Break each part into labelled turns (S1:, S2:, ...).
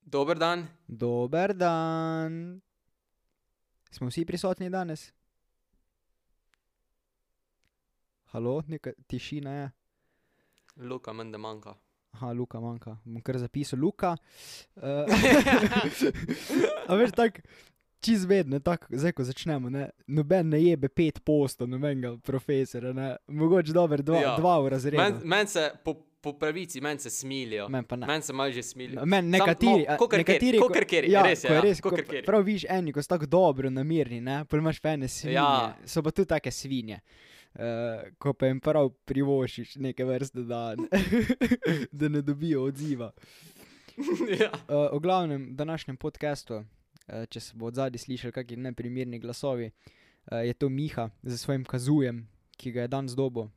S1: Dober dan,
S2: Dober dan. Smo vsi prisotni danes? Halo, neka tišina je.
S1: Luka, menda manjka.
S2: Aha, Luka manjka. Bom kar zapisal Luka. Uh, a veš, tako čez vedno, tako zdaj, ko začnemo, ne, noben ne jebe pet postov, nobenega profesora, ne, mogoče dober dva,
S1: Ja.
S2: ja. dva v razredu.
S1: Meni men se po, po pravici, meni se smilijo.
S2: Men pa ne.
S1: Meni se malo že smilijo.
S2: Meni
S1: Sam-
S2: nekateri,
S1: no,
S2: a,
S1: kakor kjer,
S2: nekateri, ko-
S1: kakor kjer,
S2: ja,
S1: res je,
S2: ko
S1: ja,
S2: res, ko
S1: kakor
S2: pa-
S1: kjer.
S2: prav vidiš eni, ko so tako dobro namirni, ne, pa imaš pa ene svinje,
S1: Ja.
S2: ja. so pa tudi take svinje, uh, ko pa jim prav privošiš neke vrste, da, da ne dobijo odziva.
S1: ja.
S2: Uh, o glavnem današnjem podkastu, uh, če se bo odzadi slišali kakšni neprimerni glasovi, uh, je to Miha z svojim kazujem, ki ga je dan zdobo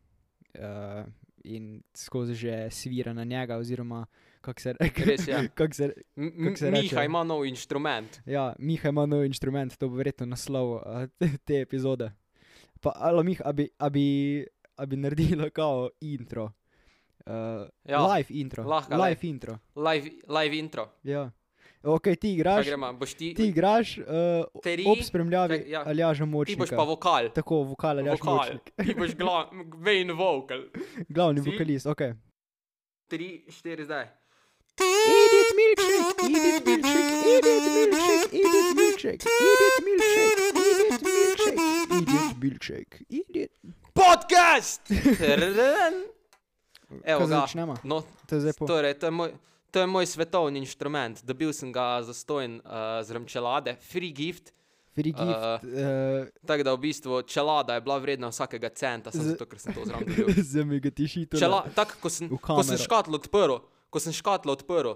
S2: uh, in skozi že svira na njega, oziroma kako se reče.
S1: Res ja. je.
S2: Kako se,
S1: M-
S2: Kako se
S1: M-
S2: reče?
S1: Miha ima nov inštrument.
S2: Ja, Miha ima nov inštrument, to bo verjetno naslov a, te- te epizode. Pa, ali Miha, a bi, a bi, a bi naredila kao intro. Uh,
S1: Ja,
S2: ja, live intro.
S1: lahko,
S2: live intro.
S1: live, live intro.
S2: Ja. Ok, ti
S1: Kaj
S2: igraš,
S1: gremo, boš ti,
S2: ti igraš uh,
S1: Tri,
S2: ob spremljavi
S1: čak, ja.
S2: Aljaža
S1: ti
S2: Močnika.
S1: boš pa vokal.
S2: Tako, vokal Aljaž
S1: Vokal.
S2: Močnik.
S1: Ti boš gla- main vocal.
S2: Glavni
S1: Si?
S2: vokalist, ok.
S1: 3, 4, zdaj.
S2: Edit milkshake, edit milkshake, edit milkshake, edit milkshake, edit milkshake, edit milkshake, edit milkshake, edit.
S1: Podcast! Trrrrrn. Evo
S2: Ko
S1: ga.
S2: začnemo?
S1: No,
S2: To je zdaj po.
S1: Torej, to je moj, to je moj svetovni inštrument. Dobil sem ga za stojn uh, z remčelade, free gift.
S2: Free gift.
S1: Eh,
S2: Uh,
S1: Tako da v bistvu čelada je bila vredna vsakega centa, samo
S2: Z-
S1: zato, ker sem to zraven dobil.
S2: Zdaj mi ga tiši to.
S1: Čela, tako, ko sem,
S2: V
S1: ko sem
S2: kamero.
S1: škatlo odprl, ko sem škatlo odprl.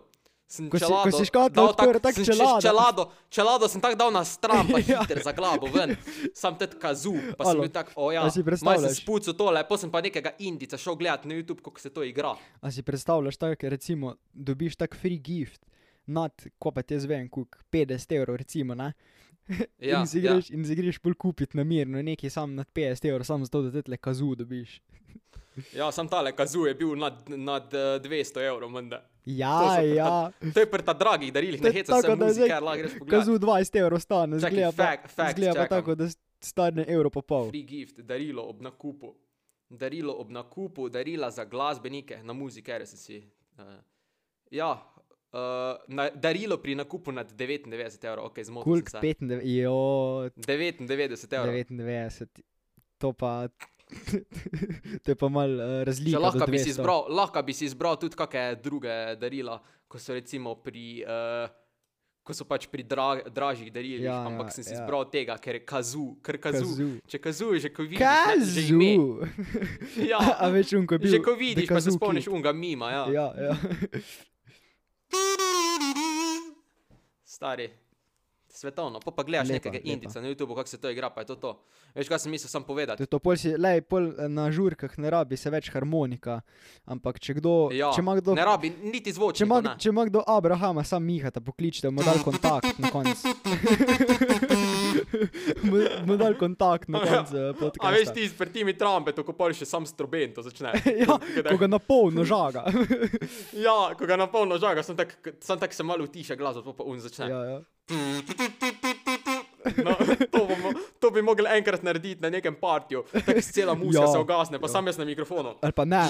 S1: Sem
S2: Ko si- ko
S1: čelado
S2: si škatlo
S1: dal
S2: odprl, tako
S1: sem čez
S2: čelada.
S1: Čelado, čelado sem tako dal na stran, pa
S2: Ja.
S1: hiter za glavo ven. Sam te kazu, pa sem
S2: Alo,
S1: bil tako, o ja,
S2: a
S1: malo
S2: si
S1: sem
S2: predstavljaš?
S1: spucu tole, pa sem pa nekega indica šel gledat na YouTube, kako se to igra.
S2: A si predstavljaš tako, recimo, dobiš tak free gift. Nad, ko pa te zvem, kuk 50 evrov, recimo, ne?
S1: Ja,
S2: in si
S1: ja.
S2: greš, in si greš pol kupiti namirno, no, nekaj sam nad 50 evrov, samo zato, da te tle kazu dobiš.
S1: Ja, sam tale kazu je bil nad, nad eh, 200 evrov, menda. To
S2: Ja,
S1: so pri
S2: ja.
S1: To je pri ta dragih darilih,
S2: To
S1: ne
S2: je
S1: heca se
S2: tako, da
S1: muzi,
S2: zdaj
S1: ker lahko greš pogledat.
S2: Kazu 20 evrov stane,
S1: Čakaj,
S2: zgleda pa,
S1: fact, fact,
S2: zgleda pa
S1: čakam.
S2: tako, da s- stane evro pa pol.
S1: Free gift, darilo ob nakupu. Darilo ob nakupu, darila za glasbenike, na muzikere si si. Uh, ja, uh, na, darilo pri nakupu nad 99 evrov, ok, zmotil
S2: Kulk
S1: sem se.
S2: 95, jo,
S1: 99 evrov.
S2: 99, to pa, to je pa mal uh,
S1: Če
S2: razlika.
S1: lahko
S2: do
S1: bi, si
S2: 200.
S1: izbral, lahko bi si izbral tudi kakšne druge darila, ko so recimo pri. Uh, Ko so pač pri dra dražjih darilih,
S2: Ja,
S1: ja, ampak
S2: ja,
S1: sem si
S2: ja.
S1: izbral ja. tega, ker je kazu, ker kazu. kazu.
S2: Kazu.
S1: Če kazu je že, ko vidiš, ne, že ime.
S2: Kazu.
S1: Ja,
S2: A veš, unko je bil.
S1: že ko vidiš, pa se
S2: Kazu
S1: spomniš
S2: Kid.
S1: unga mima. Ja.
S2: Ja, ja.
S1: Stari, svetovno, pa, pa gledaš
S2: Lepa,
S1: nekega
S2: lepa.
S1: indica na YouTubu, kako se to igra, pa je to to. Veš, kaj sem mislil sam
S2: To,
S1: povedati?
S2: to pol si, lej, pol eh, na žurkah ne rabi se več harmonika, ampak če kdo,
S1: Ja,
S2: če ima kdo,
S1: ne rabi niti
S2: če
S1: zvočnika.
S2: ima,
S1: ne.
S2: če ima kdo Abrahama, sam Mihata pokličite, mu dal kontakt na koncu. Mu- mu dal kontakt na koncu eh, podcasta.
S1: Ja. A veš ti pred temi trampe, tako pa še sam stroben, to začne.
S2: Ja,
S1: Kada-
S2: ko ga na polno žaga.
S1: ja, ko ga na polno žaga, sem tak, sem tak se malo utiša glas, pa pa un začne.
S2: ja, ja.
S1: No, to, bomo, to bi mogli enkrat narediti na nekem partiju, tako cela muzika ja,
S2: Ja,
S1: se ugasne, pa ja.
S2: ja.
S1: sam jaz na mikrofonu.
S2: Ali pa ne,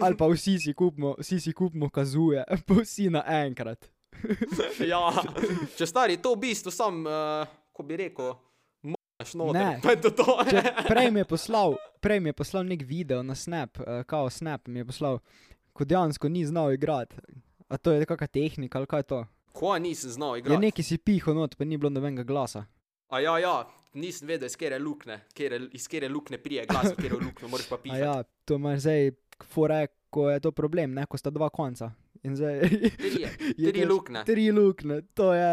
S2: ali pa vsi si kupimo, vsi si kupimo kazuje, pa vsi naenkrat.
S1: Ja, če stari, to v bistvu sam, uh, ko bi rekel, moš noter.
S2: Ne.
S1: To je to. to.
S2: Če, prej, mi je poslal, prej mi je poslal nek video na Snap, uh, kao Snap mi je poslal, ko dejansko ni znal igrati. A to je kakšna tehnika ali kaj je to?
S1: Ko nisem znal
S2: Je
S1: igrati.
S2: neki si piho not, pa ni bilo nobenega glasa.
S1: A ja, ja, nisem vedel, iz kere lukne, kere, iz kere lukne prije glas, v kere lukne moraš pa
S2: A
S1: pisati.
S2: ja, to imaš zdaj fore, ko je to problem, ne, ko sta dva konca. In zdaj
S1: Trije,
S2: je
S1: tri
S2: tež-
S1: lukne.
S2: Tri luknje, to je,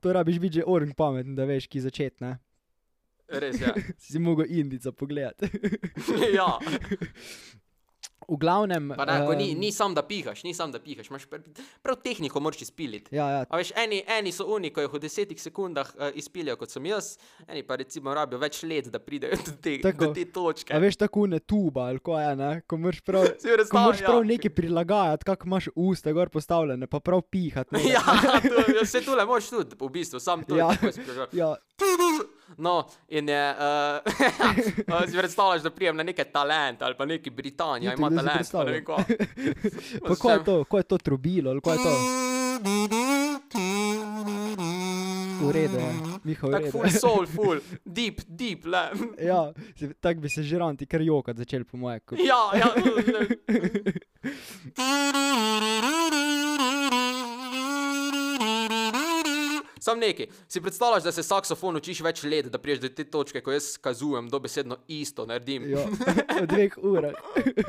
S2: to rabiš biti že orang pameten, da veš, ki začeti, ne.
S1: Res je.
S2: Si mogel indica pogledati.
S1: ja.
S2: V glavnem.
S1: Pa ne, ko ni,
S2: em,
S1: ni sam, da pihaš, ni sam, da pihaš, imaš prav, prav tehniko moraš izpiliti.
S2: Ja, ja,
S1: A veš, eni, eni so oni, ko jih v desetih sekundah uh, izpilijo, kot sem jaz, eni pa recimo rabijo več let, da pridejo do te,
S2: Tako.
S1: do te točke.
S2: a veš tako ne tuba ali ko je, ne, ko moraš prav,
S1: Si jo
S2: ko
S1: razstavljal,
S2: moraš prav
S1: ja.
S2: nekaj prilagajati, kako imaš usta gor postavljene, pa prav pihati. ne.
S1: Ja, to, vse tole moš tudi, v bistvu, sam to.
S2: Ja.
S1: Ja.
S2: ja,
S1: No, in je, uh, si predstavljaš, da prijem na neke talente ali pa neki Britanija,
S2: Itak,
S1: ima
S2: Ja, da si
S1: talent, pa ne vem kaj.
S2: predstavljam. pa ko je to, ko je to trubilo ali ko je to? V redu je, Miha, v
S1: Tako
S2: redu.
S1: full soul, full, deep, deep, le.
S2: Ja, se- tako bi se žiranti kar jokat začeli, po mojem. ko-
S1: Ja, ja. le. Sam nekaj. Si predstavljaš, da se saksofon učiš več let, da priješ do te točke, ko jaz kazujem, dobesedno isto naredim.
S2: Ja, v dveh urah.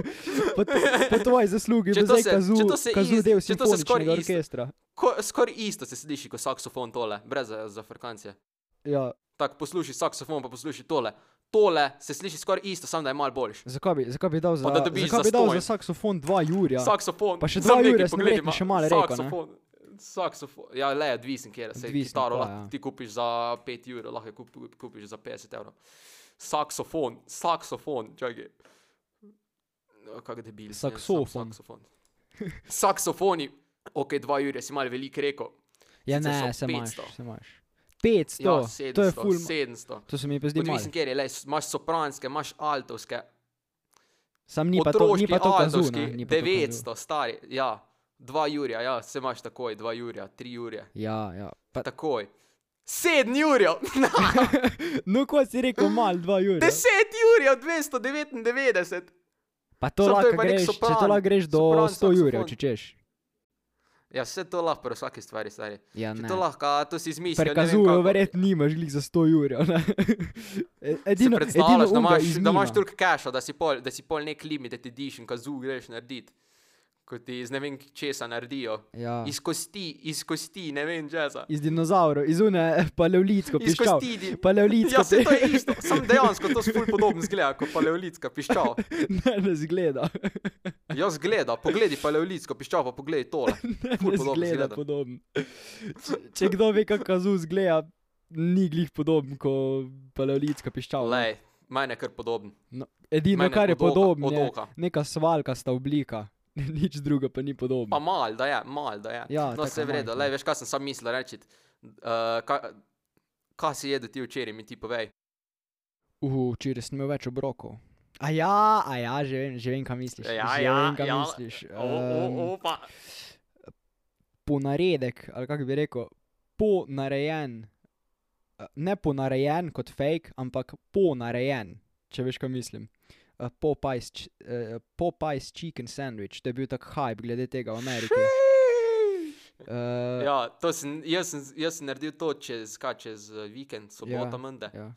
S2: Po, to, po tvoji zaslugi,
S1: Če
S2: da
S1: to
S2: zdaj
S1: se-
S2: kazu,
S1: če to se
S2: kazu
S1: iz-
S2: del
S1: če to se skoraj
S2: simfoničnega
S1: iz-
S2: orkestra.
S1: Ko, skoraj isto se sliši kot saksofon tole, brez za, za frekvencije.
S2: Ja,
S1: Tako posluši saksofon, pa posluši tole. Tole se sliši skoraj isto, samo da je malo boljš.
S2: zakaj bi, zakaj bi dal za,
S1: da dobiš
S2: zakaj
S1: za
S2: bi dal
S1: stonj.
S2: za saksofon 2 jurja?
S1: Ja. Saksofon.
S2: Pa še
S1: Samo
S2: dva
S1: nekaj,
S2: jurja sem
S1: poglej,
S2: verjetno
S1: ima
S2: še malo rekel, ne?
S1: Saksofon. Saksofon. Ja, le, odvisen, kjer se
S2: Odvisno,
S1: kitaro
S2: pa,
S1: lahko
S2: ja.
S1: ti kupiš za 5 evrov, lahko jo kup, kup- kupiš za 50 evrov. Saksofon, saksofon, čakaj. No, Kak debil. sem,
S2: Saksofon.
S1: sam Saksofon. Saksofoni. Ok, dva jurja si malo velik rekel.
S2: ja,
S1: sicer
S2: ne,
S1: so
S2: se imaš,
S1: 500.
S2: se imaš. 500,
S1: Ja,
S2: to je
S1: 700,
S2: ful, ma-
S1: 700.
S2: to se mi pa zdi malo.
S1: Odvisen, kjer je, le, s- imaš sopranske, imaš altovske,
S2: Sam ni pa to, ni
S1: otroški,
S2: pa to kazu,
S1: aldovski,
S2: ne, ni pa to kazu.
S1: 900, stari, ja, 2 jurja, ja, se imaš takoj, 2 jurja, 3 jurja,
S2: Ja, ja. Pa,
S1: takoj. 7 jurjev,
S2: no, ko si rekel mal 2 jurja.
S1: 10 jurjev, 299.
S2: Pa to
S1: Samo to je
S2: lahko
S1: pa nek
S2: greš, če to
S1: sopran,
S2: lahko greš do
S1: sopran
S2: 100 jurjev,
S1: saksofon.
S2: če češ.
S1: Ja, vse to lahko, pri vsaki stvari, stari.
S2: Ja,
S1: Če
S2: ne.
S1: to lahko, a, to si izmisliš.
S2: Prikazujejo, verjetno nimaš glih za 100 jurjev. ne. E- Edino, edino
S1: Predstavljaš, da imaš, da imaš
S2: tudi.
S1: toliko keša, da si, pol, da si pol nek limit, da ti diš in kazu greš narediti. Kot ti iz ne vem česa naredijo.
S2: Ja.
S1: Iz kosti, iz kosti, ne vem česa.
S2: Iz dinozavrov, iz une paleolitsko
S1: Iz
S2: piščal.
S1: kosti.
S2: Paleolitsko
S1: Ja, se to je isto, samo dejansko to je podobno zgleda kot paleolitska piščal.
S2: ne, ne zgleda.
S1: Jaz gledam, pogledi paleolitsko piščal, pa pogledi tole. Ful
S2: Ne
S1: podobno
S2: zgleda
S1: izgleda.
S2: podobno. Če, če kdo ve, kako kazu zgleda, ni glih podoben kot paleolitska piščala.
S1: Lej, meni je kar podoben.
S2: No, edino,
S1: meni je
S2: kar je ja.
S1: od oka-
S2: podobno,
S1: od
S2: je
S1: oka.
S2: neka svalkasta oblika. Nič druga pa ni
S1: Pa
S2: podobno.
S1: mal, da je, mal, da je.
S2: Ja,
S1: no,
S2: taka
S1: se vredo,
S2: majhna.
S1: lej, veš, kaj sem sam mislil reči. Uh, kaj, kaj si jedel ti včeraj, mi ti povej.
S2: Uh, včeraj sem imel več obrokov. A ja, a ja, že vem, že vem, kam misliš.
S1: Ja,
S2: že
S1: ja,
S2: vem, kam
S1: ja.
S2: misliš.
S1: O, o,
S2: Um,
S1: o, pa.
S2: ponaredek, ali kako bi rekel, ponarejen. Eh, Ne ponarejen kot fake, ampak ponarejen, če veš, kaj mislim. Eh, Popeyes, ch- eh, Popeyes chicken sandwich, to je bil tak hype glede tega v Ameriki. Uh,
S1: Ja, to sem, jaz, sem, jaz sem naredil to čez, kaj, čez eh, vikend, sobota, menda.
S2: ja.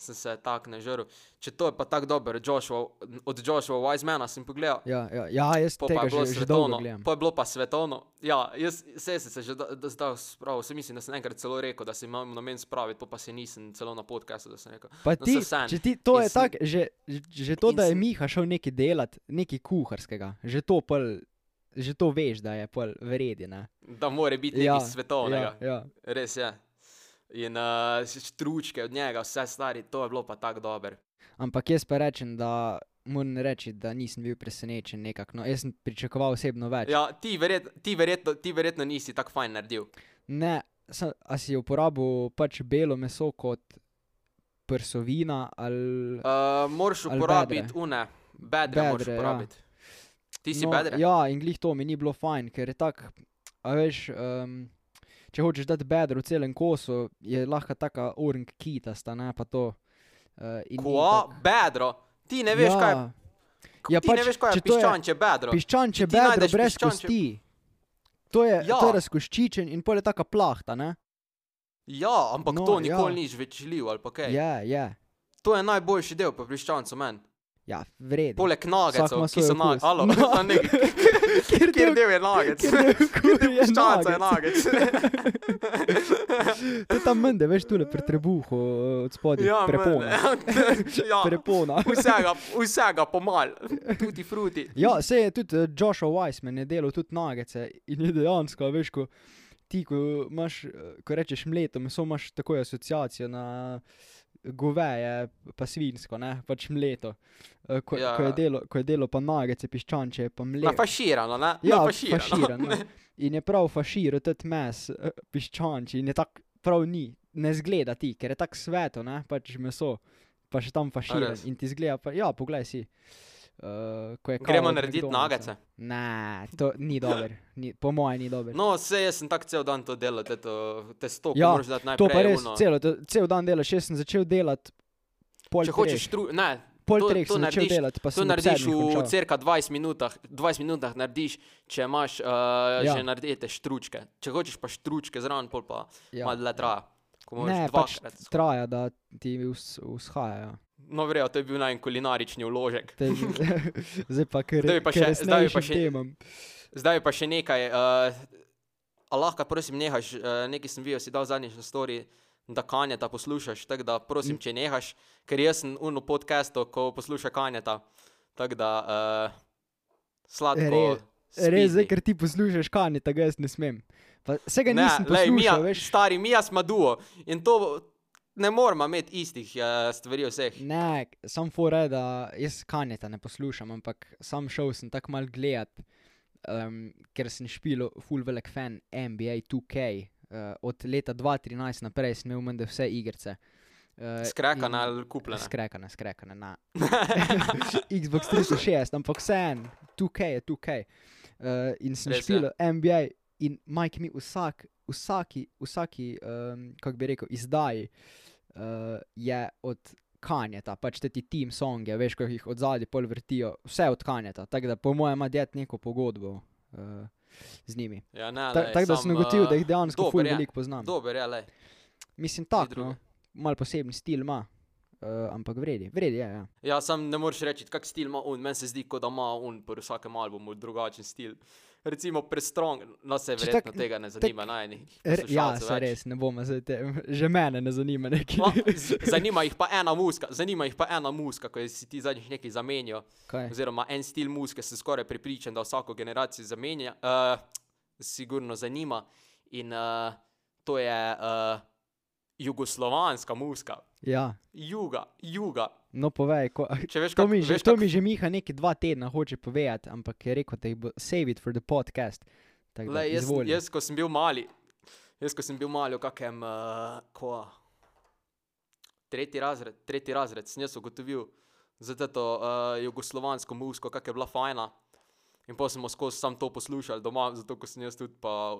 S1: sem se tak nažrl. Če to je pa tako dobro, Joshua, od Joshua Wisemana sem pogledal.
S2: Ja, ja, ja, jaz
S1: Po pa
S2: tega
S1: je bilo
S2: že, že dolgo
S1: svetovno,
S2: gledam.
S1: po je bilo pa svetovno. Ja, jaz se sem se že da- da- zdaj spravil, se mislim, da sem enkrat celo rekel, da se imam namen spraviti, po pa se nisem celo na podkastu, da sem rekel.
S2: Pa
S1: No,
S2: ti,
S1: saj vseeno.
S2: če ti, to
S1: In
S2: je
S1: sem-
S2: tako, že, že- že to,
S1: in
S2: da je
S1: sem-
S2: Miha šel nekaj delati, nekaj kuharskega, že to, pol, že to veš, da je pol vredi. Ne?
S1: Da more biti
S2: Ja,
S1: nekaj svetovnega,
S2: Ja, ja.
S1: res je. In uh, štručke od njega, vse stari, to je bilo pa tako dobro.
S2: Ampak jaz pa rečem, da moram reči, da nisem bil presenečen nekako. No, jaz sem pričakoval osebno več.
S1: Ja, ti, verjet, ti, verjetno, ti verjetno nisi tako fajn naredil.
S2: Ne, sa, a si uporabil pač belo meso kot prsovina ali.
S1: Uh, moraš
S2: Ali bedre.
S1: uporabiti une, bedre, bedre moraš
S2: Bedre, ja.
S1: uporabiti. Ti si no, bedre?
S2: Ja, in glih to mi ni bilo fajn, ker je tako, a veš, um, če hočeš dati bedro v celem kosu, je lahko taka orang kitasta, ne pa to. Uh,
S1: Ko, bedro, ti ne veš,
S2: ja,
S1: ja, kaj je.
S2: Ja,
S1: Ja, ti pač, ne
S2: pač,
S1: veš, kaj
S2: če
S1: je
S2: to je
S1: piščanče bedro. Piš...
S2: Piščanče
S1: ti
S2: bedro
S1: najdeš
S2: brez
S1: piščančje-
S2: kosti. To je, ja.
S1: Ja.
S2: to je razkoščičen in pol je taka plahta, ne?
S1: Ja, ampak
S2: No,
S1: no, to nikoli
S2: ja.
S1: ja. ni žvečljiv ali pa kaj.
S2: Je, je.
S1: To je najboljši del pri piščancu meni.
S2: Ja, vredno.
S1: Poleg
S2: Vsak ima
S1: nagecov, ki so
S2: svoj
S1: na...
S2: okus.
S1: Alo,
S2: No.
S1: no. nek,
S2: Kjer
S1: kjer
S2: del-
S1: del je nagec?
S2: kjer del kurje je
S1: Ščanca je
S2: nugget.
S1: nagec.
S2: To je tam mende, veš, tule pri trebuhu eh, od spodaj,
S1: ja,
S2: prepona.
S1: ja.
S2: Prepona.
S1: Vsega, vsega pomal, tudi fruti.
S2: Ja, se je tudi eh, Joshua Weissman je delal tudi nagece in je dejansko, veš, ko ti, ko, imaš, eh, ko rečeš mleto meso, imaš takoj asociacijo na eh, goveje, pa svinsko, ne, pač mleto. Eh, Ko,
S1: Ja.
S2: ja. ko, je, delo, ko je delo pa nagece, piščanče je pa mleto.
S1: Nafaširano, ne?
S2: Ja,
S1: Nafaširano.
S2: faširan. ja. In je prav fašir, tudi mes, eh, piščanči in je tako prav ni, ne zgleda ti, ker je tako sveto, ne, pač meso, pa še tam faširan
S1: res?
S2: in ti zgleda, pa, ja, poglej si. Uh,
S1: Gremo narediti nagece.
S2: Ne, to ni dobro, ni, po mojem ni dobro.
S1: No, se jaz sem tak cel dan to delal, te, to, te sto,
S2: Ja,
S1: ja, moraš dati najprej.
S2: to pa res,
S1: ono.
S2: celo, to, cel dan delaš, jaz sem začel delati pol
S1: Če
S2: treh,
S1: hočeš tru, ne,
S2: pol
S1: to-
S2: treh
S1: to
S2: sem začel
S1: narediš-
S2: delati, pa
S1: to
S2: sem ob
S1: narediš
S2: sedmih
S1: v
S2: končal.
S1: cirka 20 minutah, 20 minutah narediš, če imaš uh, ja.
S2: Ja.
S1: že naredite štručke. Če hočeš pa štručke zraven, pol pa ja.
S2: Ja.
S1: malo le traja. Ko moraš
S2: Ne, pač
S1: dvakrat. Pač...
S2: traja, da ti vs, ja. vzhajajo.
S1: No, vrejo, to je bil najmanj kulinarični vložek.
S2: Te- Zdaj pa ker
S1: Zdaj bi pa še-
S2: res
S1: zdaj bi pa še-
S2: temam.
S1: Zdaj pa še nekaj. Uh, a lahko, prosim, nehaš, uh, nekaj sem videl, si dal zadnjič na story, da kanjeta poslušaš, tako da
S2: Mhm.
S1: prosim, če nehaš, ker jaz sem uno podcastu, ko posluša kanjeta. Tako da uh, sladko.
S2: Re- Res, zdaj,
S1: spizni.
S2: ker ti poslušaš kanje, tega jaz ne smem. Pa, vsega
S1: Ne,
S2: nisem
S1: lej,
S2: poslušal,
S1: Mija,
S2: veš.
S1: Stari, mi smo duo in to ne moramo imeti istih uh, stvari vseh.
S2: Ne, sam fora je, da jaz kanjeta ne poslušam, ampak sam šel sem tako mal gledat, um, ker sem špilo full velik fan NBA 2K. Uh, od leta 2013 naprej sem imel menda vse igrice. Uh,
S1: Skrekana ali kupljena.
S2: Skrekane, skrekane na Xbox 360, ampak vseeno, 2K je 2K. Uh, in sem
S1: Res je.
S2: špil NBA in Mike mi vsak, vsaki, vsaki um, kako bi rekel, izdaji uh, je od kanjeta, pač te ti team songe, veš, ko jih od zadaj pol vrtijo, vse od kanjeta. Tako da po mojem ima djet neko pogodbo uh, z njimi.
S1: Ja, ne,
S2: Ta-
S1: lej,
S2: Tako da
S1: sam,
S2: sem ugotovil, da jih
S1: eh,
S2: dejansko
S1: dober
S2: ful
S1: je.
S2: veliko poznam.
S1: Dober je, le.
S2: Mislim tako,
S1: druge.
S2: no, mal poseben stil ima, uh, ampak vredi, vredi je. Ja.
S1: Ja, sam ne moreš reči, kak stil ima on. Meni se zdi, kot da ima on pri vsakem albumu drugačen stil. Recimo prestrong, no se
S2: Če
S1: verjetno
S2: tak-
S1: tega ne zanima najnih.
S2: R ja,
S1: poslušalcev
S2: se
S1: več.
S2: res ne bomo zdaj te, že mene ne zanima neki.
S1: Ma, z- zanima jih pa ena muska, zanima jih pa ena muska, ko je si ti zadnjič nekaj zamenjal.
S2: Kaj?
S1: oziroma en stil muzike, sem skoraj pripričan, da vsako generacijo zamenja, uh, sigurno zanima. In uh, to je uh, jugoslovanska muzika,
S2: Ja,
S1: juga, juga.
S2: no povej, ko,
S1: Če veš,
S2: to,
S1: kako
S2: mi že,
S1: veš,
S2: to
S1: kak,
S2: mi že Miha neki dva tedna hoče povedati, ampak je rekel, da jih bo save it for the podcast. Tako da,
S1: le, jaz,
S2: izvoli.
S1: jaz, ko sem bil mali, jaz, ko sem bil mali, v kakem, uh, ko, tretji razred, tretji razred, sem jaz ugotovil za to uh, jugoslovansko muziko, kak je bila fajna. In pa smo skozi sam to poslušali doma, zato ker sem jaz tudi pa,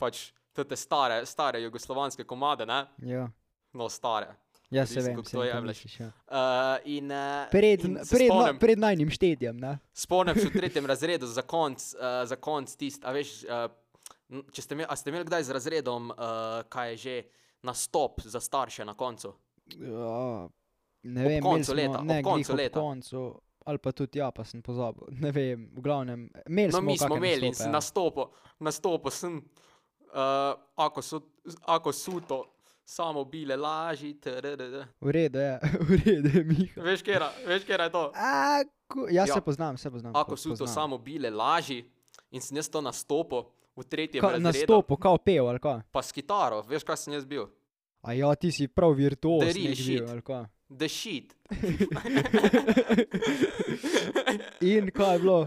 S1: pač te, te stare, stare jugoslovanske komade, ne?
S2: Ja,
S1: no stare.
S2: ja se
S1: Odvisno,
S2: vem,
S1: kako
S2: se
S1: to
S2: vem, kaj
S1: jemlješ.
S2: misliš. Ja.
S1: Uh, in, uh,
S2: Pred,
S1: in se
S2: pred, na,
S1: spomnim-
S2: pred najnim štedjem, ne?
S1: Spomnim se v tretjem razredu, za konc, uh, za konc tist, a veš, uh, če ste imeli, a ste imeli kdaj z razredom, uh, kaj je že, nastop za starše na koncu.
S2: Ja, ne
S1: Ob
S2: vem, imeli
S1: koncu
S2: smo-
S1: leta, ob
S2: ne, glih
S1: koncu
S2: ob
S1: leta.
S2: koncu, ali pa tudi ja, pa sem pozabil. Ne vem, v glavnem, imeli
S1: No,
S2: smo
S1: mi smo
S2: kake
S1: imeli in
S2: nastope,
S1: sem
S2: ja.
S1: nastopo, nastopo sem, uh, ako, so, ako suto, samo bile laži, trrr.
S2: V redu je, v redu je, Miha.
S1: Veš, kera, veš, kera je to?
S2: Ako, ja,
S1: Ja.
S2: se poznam, se poznam.
S1: Ako
S2: po-
S1: suto,
S2: poznam.
S1: samo bile laži in sem jaz to nastopo v tretjem
S2: Ka, na
S1: razredu,
S2: stopu, kao pev, ali kaj.
S1: pa s kitaro, veš, kaj sem jaz bil?
S2: A ja, ti si prav virtuoz,
S1: The real
S2: nek bil,
S1: shit.
S2: ali kaj.
S1: The shit.
S2: In kaj je bilo,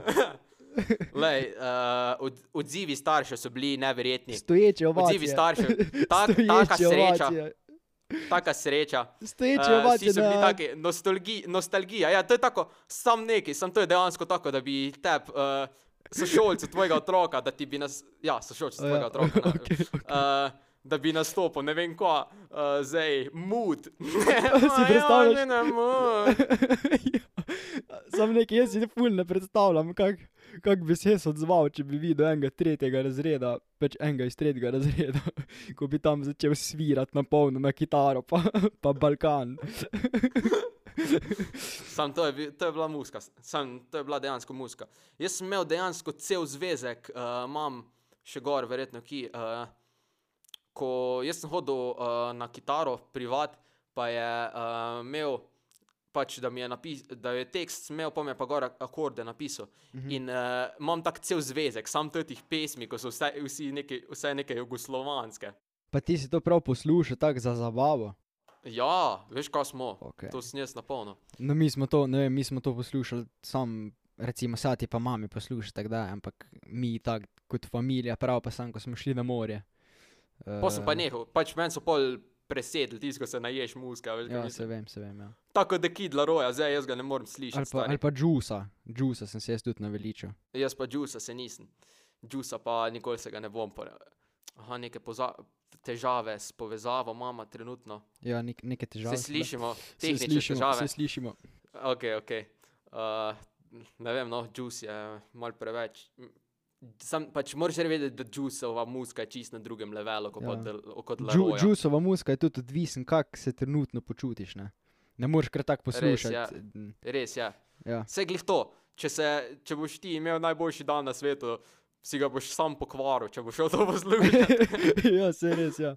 S1: Lej, uh, od, odzivi staršev so bili neverjetni.
S2: stoječe ovacije.
S1: Odzivi staršev. Tak, taka
S2: Stoječe
S1: sreča,
S2: ovacije.
S1: taka sreča.
S2: Stoječe
S1: Eh,
S2: ovacije.
S1: vsi so bili
S2: na-
S1: taki, nostalgi, nostalgija. Ja, to je tako, sam neki, sam to je dejansko tako, da bi te uh, sošolcu tvojega otroka, da ti bi nas, ja, sošolcu
S2: Ja,
S1: tvojega otroka, ne,
S2: okej,
S1: uh, da bi nastopil, ne vem ko, uh, zdaj, mood.
S2: Si predstavljaš?
S1: Ja, ne, mood.
S2: Sam Ja. nekaj, jaz si ful ne predstavljam, kako kak bi se jaz odzval, če bi videl enega tretjega razreda, pač enega iz tretjega razreda, ko bi tam začel svirati na polno na kitaro, pa, pa Balkan.
S1: Sam to je, bil- to je bila muska, sam to je bila dejansko muska. Jaz sem imel dejansko cel zvezek, uh, imam še gor, verjetno ki. Uh, ko jaz sem hodil uh, na kitaro, privat, pa je uh, imel, pač, da, mi je napis, da je tekst imel, pa mi je pa gor ak- akorde napisal. Mhm. In uh, imam tak cel zvezek, sam teh pesmi, ko so vse, vsi neke, vse neke jugoslovanske.
S2: Pa ti si to prav poslušal, tako za zabavo.
S1: Ja, veš, kaj smo.
S2: Okay.
S1: To sem jaz napolnil.
S2: No, mi smo to, ne vem, mi smo to poslušali, sam, recimo, sati pa mami poslušali, tako da, ampak mi tako kot familija, prav pa sam, ko smo šli na morje.
S1: Pa sem pa
S2: Eh,
S1: nehal, pač meni so pol presedli, tisto, ko se naješ muska. Veš,
S2: Ja, se
S1: ja,
S2: vem, se vem. Ja.
S1: Tako da kid laroja, zdaj jaz ga ne morem
S2: Ali
S1: slišati.
S2: pa,
S1: stari.
S2: ali pa džusa, džusa sem se jaz tudi naveličal.
S1: Jaz pa Džusa se nisem. Džusa pa nikoli se ga ne bom. pore- Aha, neke poza- težave s povezavo mama trenutno.
S2: Ja, nek, neke težave.
S1: Se
S2: so bile.
S1: slišimo,
S2: se
S1: tehnične
S2: slišimo,
S1: težave.
S2: se slišimo.
S1: Ok, ok. Uh, ne vem, no, Džus je mal preveč. M, Sam pač moraš že vedeti, da Džusova muska je čist na drugem levelu kot,
S2: Ja.
S1: ja. del, kot
S2: Džu,
S1: Leroja.
S2: džusova muzika je tudi odvisen, kako se trenutno počutiš. Ne, ne moreš kar tako
S1: Res,
S2: poslušati.
S1: ja.
S2: Mm,
S1: Res je.
S2: Ja.
S1: Vse glih to. Če, se, če boš ti imel najboljši dan na svetu, si ga boš sam pokvaril, če boš šel to poslušati.
S2: ja, se res. Ja.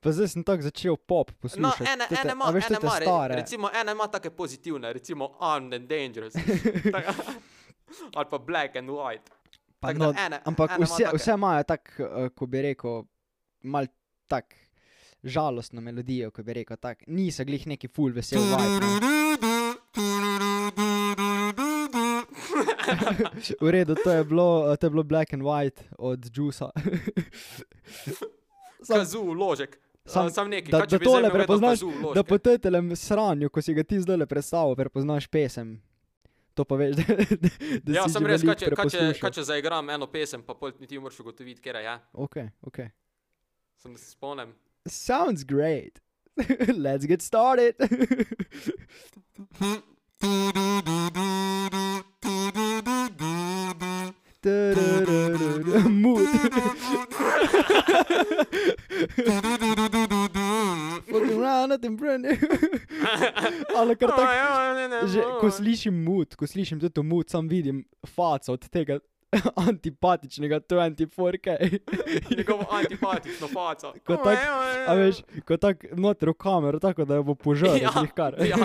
S2: Pa zdaj sem tako začel pop
S1: No,
S2: poslušati.
S1: ena,
S2: te- te-
S1: ena
S2: a
S1: ima,
S2: veš, te
S1: ena
S2: te
S1: ima, re,
S2: stare.
S1: recimo, ena ima take pozitivne, recimo Armed and Dangerous. Tak- Ali pa Black and White.
S2: Pa
S1: Tako da
S2: no,
S1: ene-
S2: ampak
S1: ene ima
S2: vse,
S1: take.
S2: vse imajo tako, eh, ko bi rekel, mal tak žalostno melodijo, ko bi rekel tak. Niso glih neki full vesel vibe. ne. V redu, to je bilo, eh, to je bilo Black and White od Jusa. Sam-
S1: Kazu vložek.
S2: Sam-
S1: Sam, sam nekaj,
S2: da-
S1: kaj, če
S2: da
S1: bi
S2: tole
S1: zdaj imel vedno
S2: prepoznaš,
S1: kazu
S2: da
S1: vložke.
S2: po tetelem sranju, ko si ga ti zdaj predstavil, prepoznaš pesem. To pa veš, da, da, da
S1: Ja,
S2: si
S1: sem
S2: že
S1: res, kaj
S2: veliko
S1: če, kaj, če,
S2: preposlušal.
S1: kaj če zaigram eno pesem, pa pol ti moraš ugotoviti, kera je.
S2: Okay, okay.
S1: Sem se spomnim.
S2: Sounds great. Let's get started. Tarararara, Mood. Fucking round, nothing brand new. Ali kar tako. Že, ko slišim mut, ko slišim tudi mut, sam vidim faco od tega antipatičnega 24K.
S1: Njegovo antipatično faco.
S2: Ko tak- A veš, ko tako noter v kamero, tako da jo bo požrl,
S1: Ja,
S2: ja, kar.
S1: ja.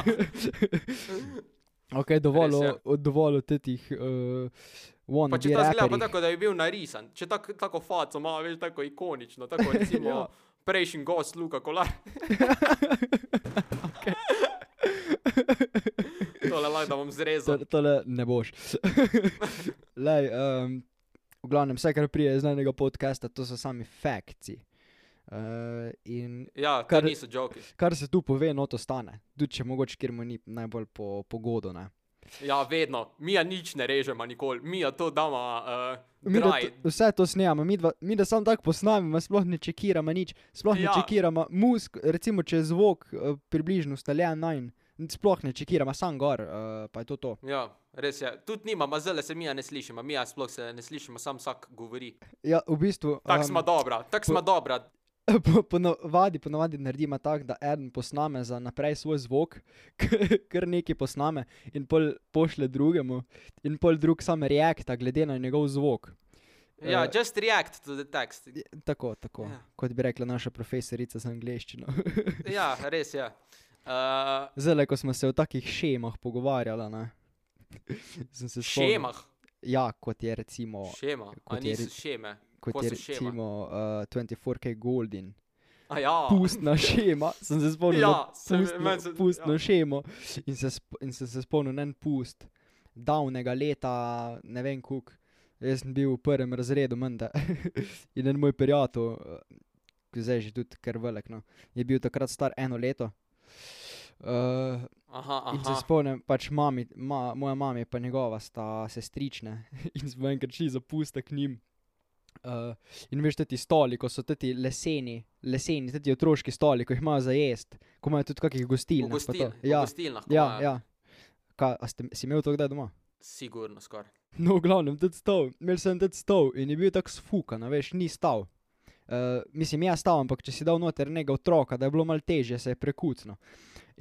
S2: ok, dovolj,
S1: Res je.
S2: o- o- dovolj tetih uh,
S1: Pa
S2: one
S1: če ta zgleda pa
S2: raperjih.
S1: tako, da je bil narisan, če tak, tako faco ima, veš, tako ikonično, tako recimo
S2: Ja.
S1: ja. prejšnji gost Luka Kolar. Tole lahko da bom zrezal.
S2: To- Tole ne boš. Lej, um, v glavnem, vse, kar prije iz enega podcasta, to so sami fakti. Uh, in
S1: Ja,
S2: Kar-
S1: kar niso joki.
S2: kar se tu pove, no to stane. Tudi če mogoče, kjer mu ni najbolj po pogodu. Ne.
S1: Ja, vedno. Mija nič ne režemo nikoli, mija to dama uh,
S2: Mi da
S1: dry.
S2: to- vse to snemamo, mi, dva, mi da samo tako posnamemo, sploh ne čekiramo nič, sploh ne
S1: Ja.
S2: čekiramo musk, recimo če je zvok eh, približno ustaljen najn, sploh ne čekiramo, sam gor, eh, pa je to to.
S1: Ja, res je. Tudi nimamo, zelo se mija ne slišimo, mija sploh se ne slišimo, sam vsak govori.
S2: Ja, v bistvu.
S1: Tak
S2: em,
S1: um, smo dobra, tak smo dobra.
S2: Po- Ponavadi, ponavadi naredimo tako, da en posname za naprej svoj zvok, kar nekaj posname in pol pošle drugemu, in pol drug sam reakta glede na njegov zvok.
S1: Ja,
S2: eh,
S1: just react to the text.
S2: Je- Tako, tako.
S1: Ja.
S2: Kot bi rekla naša profesorica za angliščino.
S1: Ja, res je. Uh,
S2: Zdaj, ko smo se o takih šemah pogovarjali, ne. Sem se spomnil-
S1: šemah.
S2: Ja, kot je recimo,
S1: Šema, a
S2: kot je
S1: niso
S2: re-
S1: šeme.
S2: kot
S1: ko
S2: je
S1: so šema?
S2: recimo uh, 24K Golden.
S1: A ja,
S2: Pustna šema, sem se spomnil. na
S1: ja se mi-
S2: pustno,
S1: meni se-
S2: pustno ja.
S1: ja.
S2: šemo in se, sp- in se, se spomnim en pust davnega leta, ne vem kuk. Jaz sem bil v prvem razredu, menda. in en moj prijatelj, eh, ki zdaj že tudi kar velik, no, je bil takrat star eno leto. Uh,
S1: Aha,
S2: in se
S1: aha.
S2: spomnim, pač mami, ma, moja mama in njegova sta sestrične in smo enkrat šli za pusta k njim. Uh, in veš, ti stoli, ko so ti leseni, leseni, ti otroški stoli, ko jih imajo za jesti, ko imajo tudi kakih
S1: V
S2: gostiln.
S1: gostiln, ja.
S2: ja,
S1: gostilnah. ko
S2: ja,
S1: imajo.
S2: ja. Ka, a ste, si imel to kdaj doma?
S1: Sigurno skoraj.
S2: No, v glavnem, tudi stol, imel sem tudi stol in je bil tako sfukan, a veš, ni stal. Uh, mislim, jaz tam, ampak če si dal noter nekega otroka, da je bilo malo težje, se je prekucno.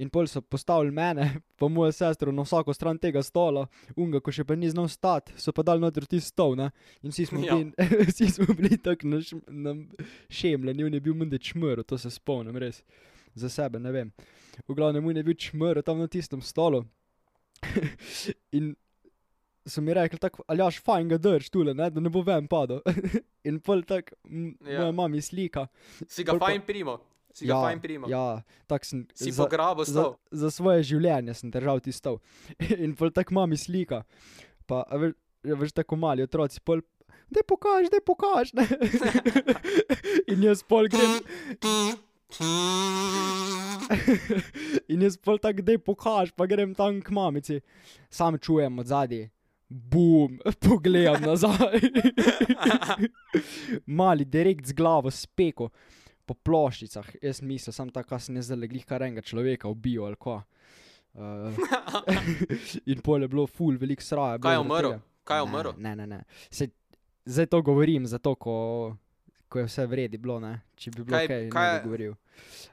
S2: In pol so postavili mene, pa mojo sestro na vsako stran tega stola, unga, ko še pa ni znal stati, so pa dal noter ti stol, ne? In vsi smo
S1: Ja.
S2: bili, vsi smo bili tako naš, nam šemljeni, on je bil mende čmrl, to se spomnim res. Za sebe, ne vem. V glavnem, on je bil čmrl tam na tistem stolu. In so mi rekli, tako, ali jaš fajn ga drž tule, ne? da ne bo ven padel. In pol tak, ja.
S1: Ja.
S2: moja mama slika.
S1: Si ga
S2: Pol pa-
S1: fajn primo, si ga fajn primo.
S2: Ja, tak sem.
S1: Si
S2: za-
S1: pograbo
S2: za,
S1: stol.
S2: za svoje življenje sem držal tisto. In pol tako mami slika. Pa a veš, a veš tako mali otroci, pol, da pokaž, da pokaž. Ne? In jaz pol grem. In jaz pol tako, da pokaž, pa grem tam k mamici. Sam čujem od zadaj. Bum, pogledam nazaj. Mali, direkt z glavo, speko, po ploščicah. Jaz mislim, sam tako, sem jaz zaleglih kar enega človeka ubil ali kva. Uh, in pol je bilo ful, veliko sraja. bilo
S1: Kaj je umrl?
S2: zaradi tega.
S1: Kaj je umrl?
S2: Ne, ne, ne. Se, zdaj to govorim, zato ko, ko je vse vredi bilo, ne? če bi bilo
S1: Kaj-
S2: kaj, kaj,
S1: kaj-
S2: kaj ne bi govoril.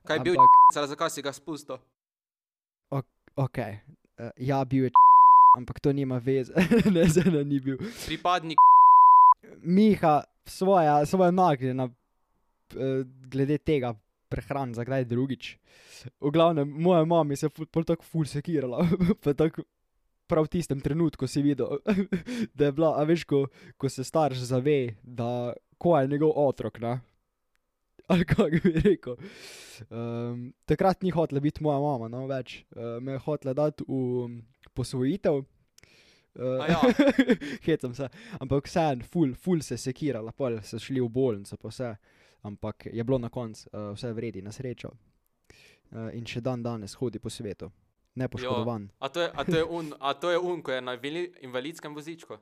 S1: Kaj je bil
S2: Ampak-
S1: Zdaj, zakaj si ga spustil?
S2: Ok, uh, ja, bil je, ampak to nima veze, ne, zdaj ni bil.
S1: Pripadnik
S2: Miha, svoja, svoja nagnjena, uh, glede tega prehran za kdaj drugič. V glavnem, moja mama se je ful- pol tako ful sekirala, pa tako prav v tistem trenutku si videl, da je bila, a veš, ko, ko se starš zave, da ko je njegov otrok, ne? Ali kako bi rekel. Um, takrat ni hotela biti moja mama, no več. Uh, me je hotela dati v posvojitev. Uh,
S1: A ja.
S2: Hecam se, ampak vseeno, ful, ful se je sekirala, pol so šli v bolnico, pa vse. Ampak je bilo na koncu, uh, vse vredi, na srečo. Uh, in še dan danes hodi po svetu, nepoškodovan.
S1: A to je, a to je un, a to je un, ko je na invali- invalidskem vozičku.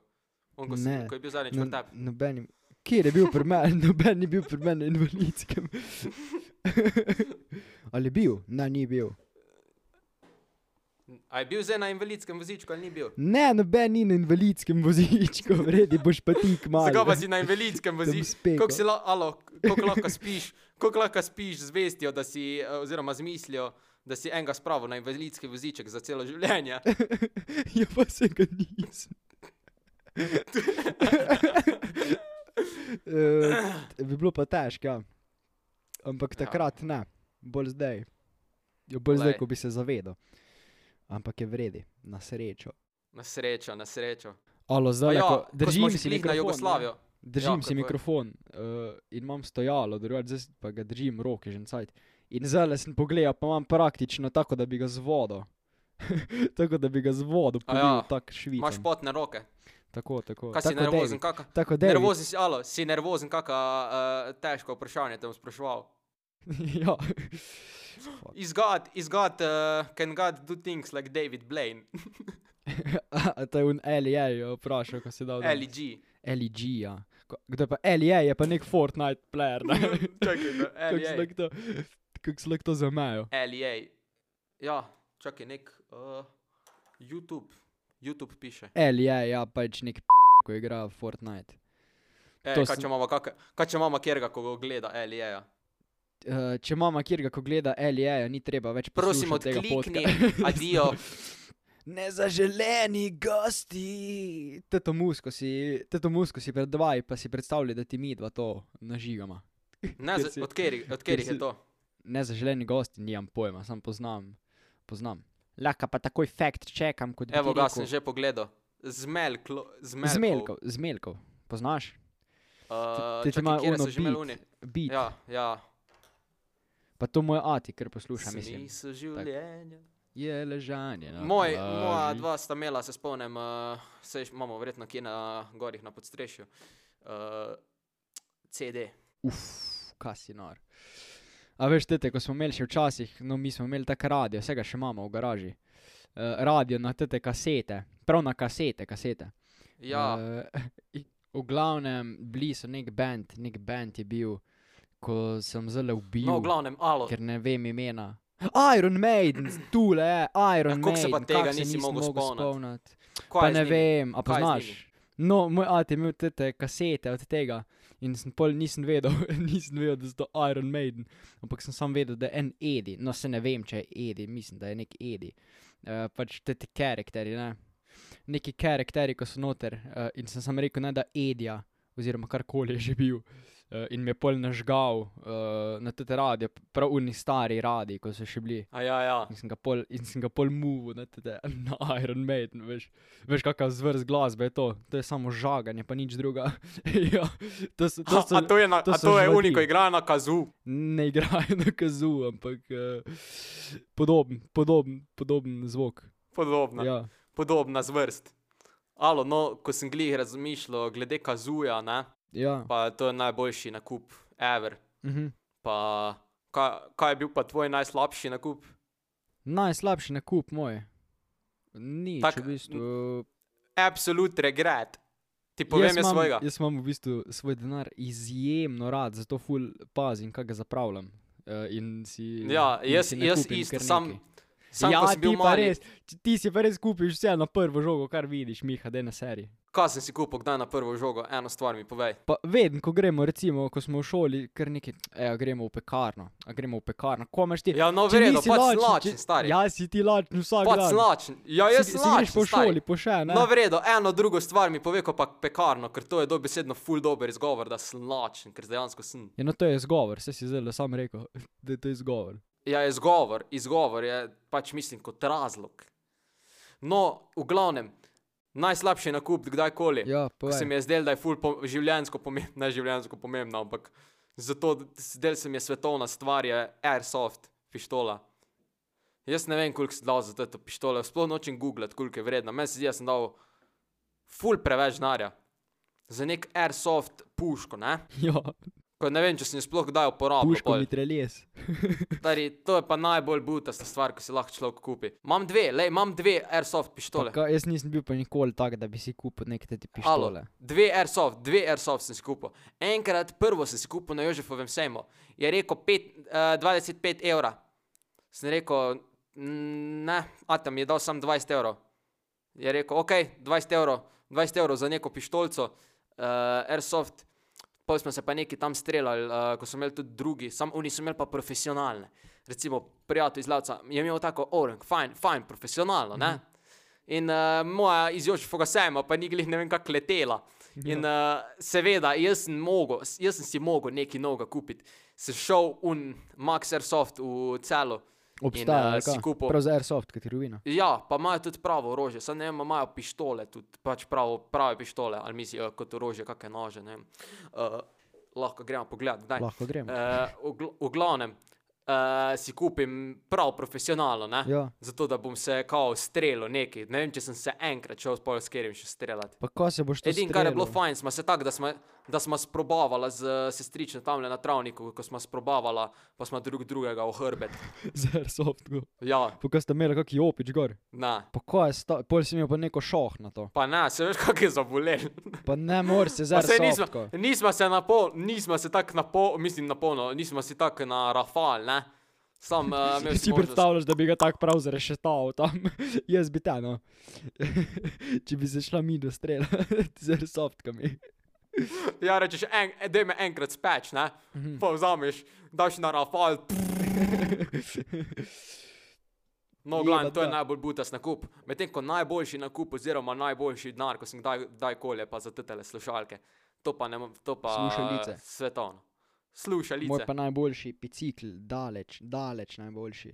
S1: Un, ko, si,
S2: Ne.
S1: ko je bil zadnjič
S2: No-
S1: v tebi.
S2: Nobenim. Kjer je bil pri meni, noben ni bil pri meni na invalidskem. Ali je bil? Ne, ni bil.
S1: A je bil zdaj na invalidskem vozičku ali ni bil?
S2: Ne, noben ni na invalidskem vozičku, vredi boš pa ti kmalu.
S1: Zakaj pa si na invalidskem vozičku?
S2: spekel.
S1: Kako si la, alo, kako lahko spiš, kako lahko spiš z vestjo, da si, eh, oziroma z mislijo, da si enega spravil na invalidski voziček za celo življenje.
S2: Ja, pa se ga nisem. uh, bi bilo pa težko, ja. ampak
S1: Ja.
S2: takrat ne, bolj zdaj. Jo bolj zdaj,
S1: Glej.
S2: ko bi se zavedal. Ampak je vredi, na srečo.
S1: Na srečo, na srečo.
S2: Alo,
S1: Pa
S2: zdaj,
S1: ja,
S2: ko,
S1: ko smo
S2: držim
S1: že
S2: si
S1: glih na
S2: mikrofon, ne.
S1: Jugoslavijo.
S2: Držim
S1: Ja,
S2: ja, si
S1: kako je?
S2: mikrofon uh, in imam stojalo, drugače zdaj pa ga držim roke že cajt. In zdaj sem pogledal, pa imam praktično tako, da bi ga z vodo. tako da bi ga z vodo
S1: A ja,
S2: polil, ja, tako švit.
S1: Imaš potne roke.
S2: Tako, tako.
S1: Kaj si
S2: tako
S1: nervozen?
S2: David,
S1: Kaka,
S2: Tako da je.
S1: nervozen si, alo, si nervozen, kakšno uh, težko vprašanje te bom spraševal.
S2: ja.
S1: Is God, is God, uh, can God do things like David Blaine,
S2: A to je un LEA vprašal, ko si dal. dol.
S1: LG?
S2: LEG, ja. Ko- Kdo pa LEA je pa nek Fortnite player. ne?
S1: Čakaj, no,
S2: Kako se
S1: LEA.
S2: lahko to- kako se lahko to zamejo?
S1: LEA. E Ja, čakaj, nek uh, YouTube. YouTube piše.
S2: LEA, ja, pač nek p***, ko igra Fortnite.
S1: E,
S2: To
S1: kaj,
S2: sem-
S1: če imamo kaka, kaj če imamo kjerga, ko ga gleda E LEA?
S2: Eh, če mama kjerga, ko gleda LEA, ni treba več
S1: Prosim,
S2: poslušati tega
S1: odklikni,
S2: podca-
S1: adijo.
S2: Nezaželeni gosti. Teto musko si, teto musko si pred dvaj, pa si predstavljaj, da ti mi dva to nažigama.
S1: Ne,
S2: Ker
S1: z-
S2: si-
S1: Od katerih od katerih
S2: si-
S1: je to?
S2: Nezaželeni gosti, nimam pojma, sam poznam. poznam. Lahko pa takoj fakt čekam, kot bi
S1: Evo
S2: ti
S1: ga,
S2: rekel.
S1: sem že pogledal. Zmelklo, zmelkov.
S2: Zmelkov, zmelkov. Poznaš?
S1: Uh,
S2: Ti- ti ima
S1: čakaj, kjer
S2: ono
S1: so že imeli
S2: beat.
S1: oni?
S2: Bit. Ja.
S1: Ja, ja.
S2: Pa to moj ati, ker posluša, mislim. Ja,
S1: Smisel življenja.
S2: Je ležanje. na
S1: Moj,
S2: plaži.
S1: moja dva sta imela, se spomnim, uh, sej imamo verjetno kje na gorih na podstrešju. Uh, CD.
S2: Uf, kaj si nor. A veš, tete, ko smo imeli še včasih, no mi smo imeli tako radio, vsega še imamo v garaži. Uh, radio na tete kasete, prav na kasete, kasete.
S1: Ja,
S2: Uh, v glavnem, bili so nek band, nek band je bil, ko sem zelo ubil,
S1: no, v glavnem, alo.
S2: ker ne vem imena. Iron Maiden, tule je,
S1: Ja,
S2: Iron Maiden.
S1: kako se pa
S2: kako
S1: tega
S2: se
S1: nisi
S2: nisem
S1: mogel spomniti?
S2: spomniti?
S1: Kaj
S2: Pa
S1: je z
S2: ne
S1: njimi?
S2: vem,
S1: Kaj
S2: a
S1: je z
S2: poznaš?
S1: njimi?
S2: No, moj ati je imel te kasete od tega In sem pol nisem vedel, nisem vedel, da so to Iron Maiden, ampak sem sam vedel, da je en Edi, no se ne vem, če je Edi, mislim, da je nek Edi. Uh, pač te ti karakteri, ne? neki karakteri, ko so noter. Uh, in sem sam rekel, ne, da Edija, oziroma karkoli je že bil. Uh, in me je pol nažgal uh, na te radije, prav oni stari radiji, ko so še bili.
S1: A ja, ja.
S2: In sem ga pol, in sem ga pol muvu, na, tete, na Iron Maiden, veš, veš kakšna zvrst glasbe je to, to je samo žaganje, pa nič druga. ja, to so, to
S1: Ha,
S2: so,
S1: a to je, na,
S2: to
S1: a
S2: so
S1: to je
S2: živati.
S1: uniko igra na kazu.
S2: Ne igrajo na kazu, ampak uh, podoben, podoben, podoben zvok.
S1: Podobna, ja.
S2: Ja.
S1: podobna zvrst. Alo, no, ko sem glih razmišljal glede kazuja, ne,
S2: Ja.
S1: pa to je najboljši nakup ever.
S2: Uh -huh.
S1: Pa kaj, kaj je bil pa tvoj najslabši nakup?
S2: Najslabši nakup moj. Ni,
S1: Tak,
S2: v bistvu.
S1: Absolut regret. Ti povem jaz, jaz
S2: imam-
S1: svojega.
S2: Jaz imam v bistvu svoj denar izjemno rad, zato ful pazim, kaj ga zapravljam. Uh, in si,
S1: Ja,
S2: in
S1: jaz,
S2: si ne
S1: jaz
S2: kupim
S1: isto,
S2: kar
S1: sam,
S2: nekaj.
S1: sam
S2: ja,
S1: ko sem bil
S2: ti, pa
S1: mali,
S2: res, ti- ti si pa res kupiš vse na prvo žogo, kar vidiš, Miha, da je na seriji.
S1: Kaj sem si kupil, kdaj na prvo žogo? Eno stvar mi povej.
S2: Pa vedno, ko gremo, recimo, ko smo v šoli, kar nekaj, e, gremo v pekarno, a gremo v pekarno, ko imaš ti.
S1: Ja, no,
S2: če
S1: verjetno,
S2: nisi
S1: pač
S2: lačen,
S1: lačen,
S2: če-
S1: stari.
S2: Ja, si ti lačen vsak
S1: Pač
S2: dan.
S1: slačen. Ja, jaz
S2: si,
S1: sem
S2: si greš po
S1: lačen.
S2: šoli,
S1: stari.
S2: po še, ne?
S1: No, verjetno, eno drugo stvar mi pove, ko pa pekarno, ker to je dobesedno full dober izgovor, da sem lačen, ker dejansko sem.
S2: Ja, no, to je izgovor, vse si zdaj sam rekel, da je to izgovor.
S1: Ja, izgovor, izgovor je pač mislim kot razlog. No, v glavnem, najslabši nakup kdajkoli.
S2: Ja,
S1: Ko se
S2: povej.
S1: mi je zdelo, da je ful po, življensko pomembno, ne življensko pomembno, ampak zato zdel se mi je svetovna stvar, je airsoft pištola. Jaz ne vem, koliko sem dal za to pištole, sploh nočem googlati, koliko je vredna. Meni se zdi, da sem dal ful preveč denarja za nek airsoft puško, ne?
S2: Ja,
S1: Ko ne vem, če sem jo sploh kdaj uporabljal.
S2: puško
S1: pol.
S2: mi treljes.
S1: Stari, to je pa najbolj butasta stvar, ko si lahko človek kupi. Imam dve, le imam dve airsoft pištole.
S2: Ka, jaz nisem bil pa nikoli tak, da bi si kupil neke te
S1: Alo,
S2: pištole.
S1: dve airsoft, dve airsoft sem si kupil. Enkrat prvo sem si kupil na Jožefovem sejmu, je rekel pet, uh, 25 evra. Sem rekel, "Mm, ne, a tam je dal sam 20 evrov. Je rekel, ok, 20 evrov, 20 evrov za neko pištolco, uh, airsoft. Pa smo se pa neki tam streljali, uh, ko so imeli tudi drugi, samo oni so imeli pa profesionalne. Recimo, prijatelj iz Lavca je imel tako orang, fajn, fajn, profesionalno. Ne? In uh, moja iz Jožefoga sejma, pa ni glih ne vem kako letela.
S2: Ja.
S1: In uh, seveda, jaz sem, mogel, s- jaz sem si mogel nekaj novega kupiti. Sem šel v Max Airsoft v celo.
S2: Obstaja,
S1: in,
S2: ali
S1: eh, si
S2: kaj?
S1: kupil-
S2: prav za airsoft, kot je ruina.
S1: Ja, pa imajo tudi pravo orožje, samo ne vem, a imajo pištole, tudi pač pravo, prave pištole, ali mislijo eh, kot orožje, kakšne nože. ne vem. Uh, lahko gremo pogledat, kdaj.
S2: Lahko gremo.
S1: Eh, v, gl v glavnem, uh, si kupim prav profesionalno, ne?
S2: Ja.
S1: zato da bom se kao streljal neki. Ne vem, če sem se enkrat šel s polskerim še streljati.
S2: Pa ko se boš to
S1: Edino, kar je bilo
S2: streljal?
S1: fajn, smo se tako, da smo, da smo sprobavala z eh, sestrično tam na travniku, ko smo sprobavala, pa smo drug drugega v hrbet.
S2: z airsoftko.
S1: Ja,
S2: Pa ko ste imeli kaki opič gor.
S1: na.
S2: Pa ko je sta, pol si imel pa neko šoh na to.
S1: Pa ne, se veš, kako je zabolel.
S2: Pa ne moreš se z
S1: Pa saj nismo,
S2: airsoftko.
S1: nismo se na pol, nismo se tako na pol, mislim na polno, nismo si tako na rafal, ne. Sam uh, imel
S2: Si
S1: si
S2: predstavljaš, da bi ga tako prav zarešetal tam. Jaz bi ta, no. Če bi se šla mi do strela z airsoftkom.
S1: Ja, rečeš, en, da me enkrat speč, ne? Pa vzameš, daš na rafal. No,
S2: Jeba,
S1: glavno, to je
S2: da.
S1: najbolj butas nakup. Medtem ko najboljši nakup, oziroma najboljši denar, ko sem kdaj, kdaj kole, pa za tele slušalke. To pa ne, mo- to pa
S2: Slušalice.
S1: eh, Svetovno.
S2: Moj
S1: Slušalice.
S2: pa najboljši bicikl, daleč, daleč najboljši.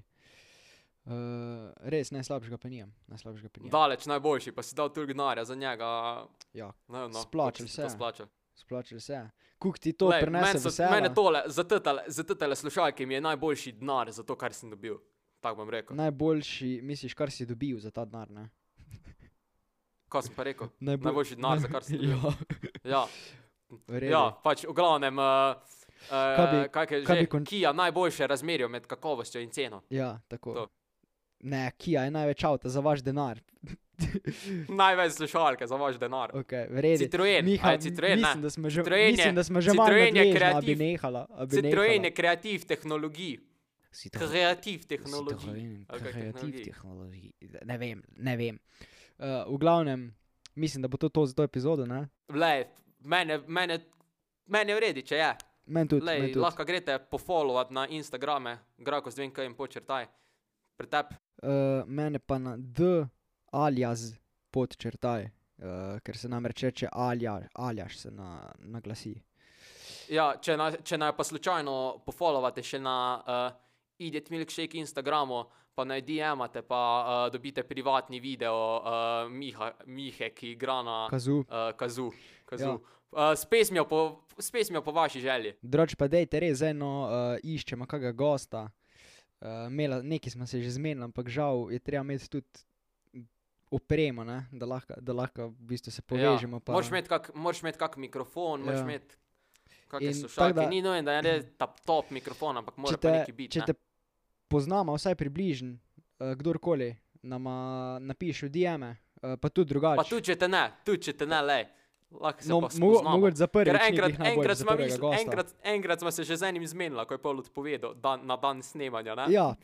S2: Uh, res najslabšega pa nijem, najslabšega pa nijem.
S1: Daleč najboljši, pa si dal tudi denarja za njega.
S2: Ja,
S1: Ne, vem, no,
S2: Splačal
S1: koliko si
S2: se
S1: to
S2: je.
S1: Splačal.
S2: splačil se. Kuk ti to
S1: meni,
S2: prenese
S1: so-
S2: vse?
S1: mene tole, za tetele, za tetele slušalke mi je najboljši denar za to, kar sem dobil. Tako bom rekel.
S2: Najboljši, misliš, kar si dobil za ta denar, ne?
S1: Kaj sem pa rekel?
S2: Najbolj-
S1: Najboljši denar, za kar sem dobil.
S2: ja,
S1: Ja,
S2: v redu.
S1: ja pač v glavnem, uh,
S2: Kaj
S1: uh,
S2: bi-
S1: kaj je
S2: kaj
S1: že,
S2: bi kon-
S1: ki je najboljše razmerje med kakovostjo in ceno.
S2: ja, tako.
S1: To.
S2: Ne, Kia je največ avta za vaš denar.
S1: Največ slušalke za vaš denar.
S2: Okay, v redu.
S1: Citroen,
S2: Miha,
S1: a je Citroen, ne?
S2: mislim, da smo že,
S1: Citroen je-
S2: mislim, da smo že
S1: Citroen
S2: malo
S1: je
S2: nadležna, a bi
S1: kreativ.
S2: nehala. a bi
S1: Citroen
S2: nehala.
S1: je kreativ tehnologij,
S2: Citroen.
S1: kreativ
S2: Citroen,
S1: tehnologij. ali kaj
S2: Kreativ
S1: tehnologij.
S2: tehnologij. Ne vem, ne vem. Eh, Uh, v glavnem, mislim, da bo to, to za to epizodo. Ne?
S1: Glej, Mene, mene Meni je vredi, če je.
S2: Meni tudi,
S1: Lej,
S2: meni tudi.
S1: lahko greste pofollowat na Instagrame, Grako z dvem kajem počrtaj. Pretep.
S2: Uh, mene pa na D alias podčrtaj, uh, ker se namreč reče alja, aljaš se na, naglasi.
S1: Ja, če, na, če naj pa slučajno pofollowate še na uh, Idiot Milkshake Instagramu, pa naj DM-ate, pa uh, dobite privatni video uh, Miha, Mihe, ki igra na
S2: Kazu.
S1: uh, Kazu. kazu.
S2: Ja.
S1: Ja. Uh, spes mi jo po, spes mi jo po vaši želji.
S2: Drugač pa dejte res eno, uh, iščemo kakega gosta. Uh, mela, nekaj smo se že zmenili, ampak žal je treba imeti tudi opremo, ne? da lahko, da lahko v bistvu se povežemo.
S1: Ja.
S2: pa-
S1: Moraš imeti kak, moraš imeti kak mikrofon, moraš
S2: Ja.
S1: imeti kakšne
S2: In
S1: slušalke.
S2: tako da-
S1: Da... Ni nujno, da je res ta top mikrofon, ampak mora
S2: če
S1: pa
S2: te,
S1: neki biti.
S2: če
S1: Ne?
S2: te poznamo, vsaj približno, uh, kdorkoli nam eh, napiše v DM-e, uh, pa tudi drugače.
S1: Pa tudi če te ne, tudi če te ne, le. Lahko se
S2: no,
S1: pa
S2: mogo-
S1: spoznamo.
S2: mogoče za prvi
S1: Ker
S2: ni
S1: enkrat,
S2: glih najbolje,
S1: enkrat,
S2: za
S1: sva
S2: prvega
S1: mislila-
S2: gosta.
S1: enkrat, enkrat smo se že z enim zmenila, ko je Pavel odpovedal dan, na dan snemanja. Ne,
S2: Ja,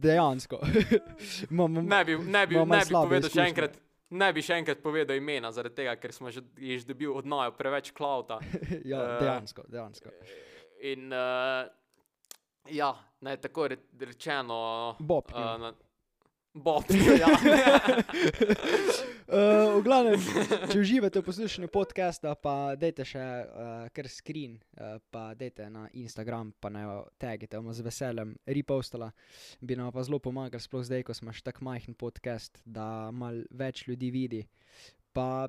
S2: dejansko. Imam- imam-
S1: ne bi, ne bi,
S2: Imamo
S1: ne bi
S2: slabe
S1: povedal še
S2: izkušnje.
S1: enkrat. Ne bi še enkrat povedal imena, zaradi tega, ker smo že ješ dobil od najo preveč klauta.
S2: ja,
S1: eh,
S2: dejansko, dejansko.
S1: In uh, ja, naj tako re, rečeno,
S2: Bob.
S1: Uh,
S2: Uh,
S1: na- Bob, ja.
S2: uh, v glavnem, če uživate v poslušanju podcasta, pa dajte še uh, kar screen, uh, pa dajte na Instagram, pa naj jo tagite, bomo z veseljem repostala. Bi nam pa zelo pomagal, sploh zdaj, ko smo še tako majhen podcast, da mal več ljudi vidi. Pa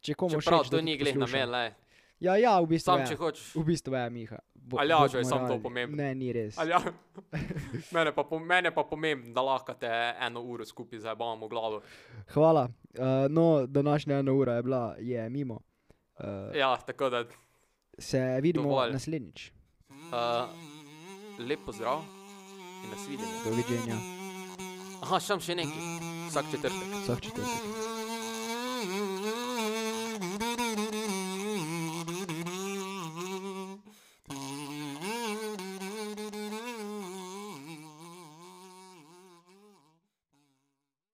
S2: če komu še
S1: Čeprav to ni glih namen, le.
S2: Ja, ja, v bistvu.
S1: Sam
S2: je.
S1: če hočeš.
S2: V bistvu je Miha. Bo,
S1: Aljažu
S2: bodimo
S1: je samo to
S2: realni.
S1: pomembno.
S2: Ne, ni res.
S1: Ali Ja, mene pa, po- mene pa pomembno, da lahko te eno uro skupaj zabavamo glavo.
S2: Hvala. Uh, no, današnja ena ura je bila, je mimo. Uh,
S1: Ja, tako da
S2: se vidimo
S1: dovolj.
S2: naslednjič.
S1: uh, lep pozdrav in nasvidenje.
S2: Do videnja,
S1: Aha, sam še nekaj, vsak četrtek.
S2: vsak četrtek.
S3: Mm-hmm.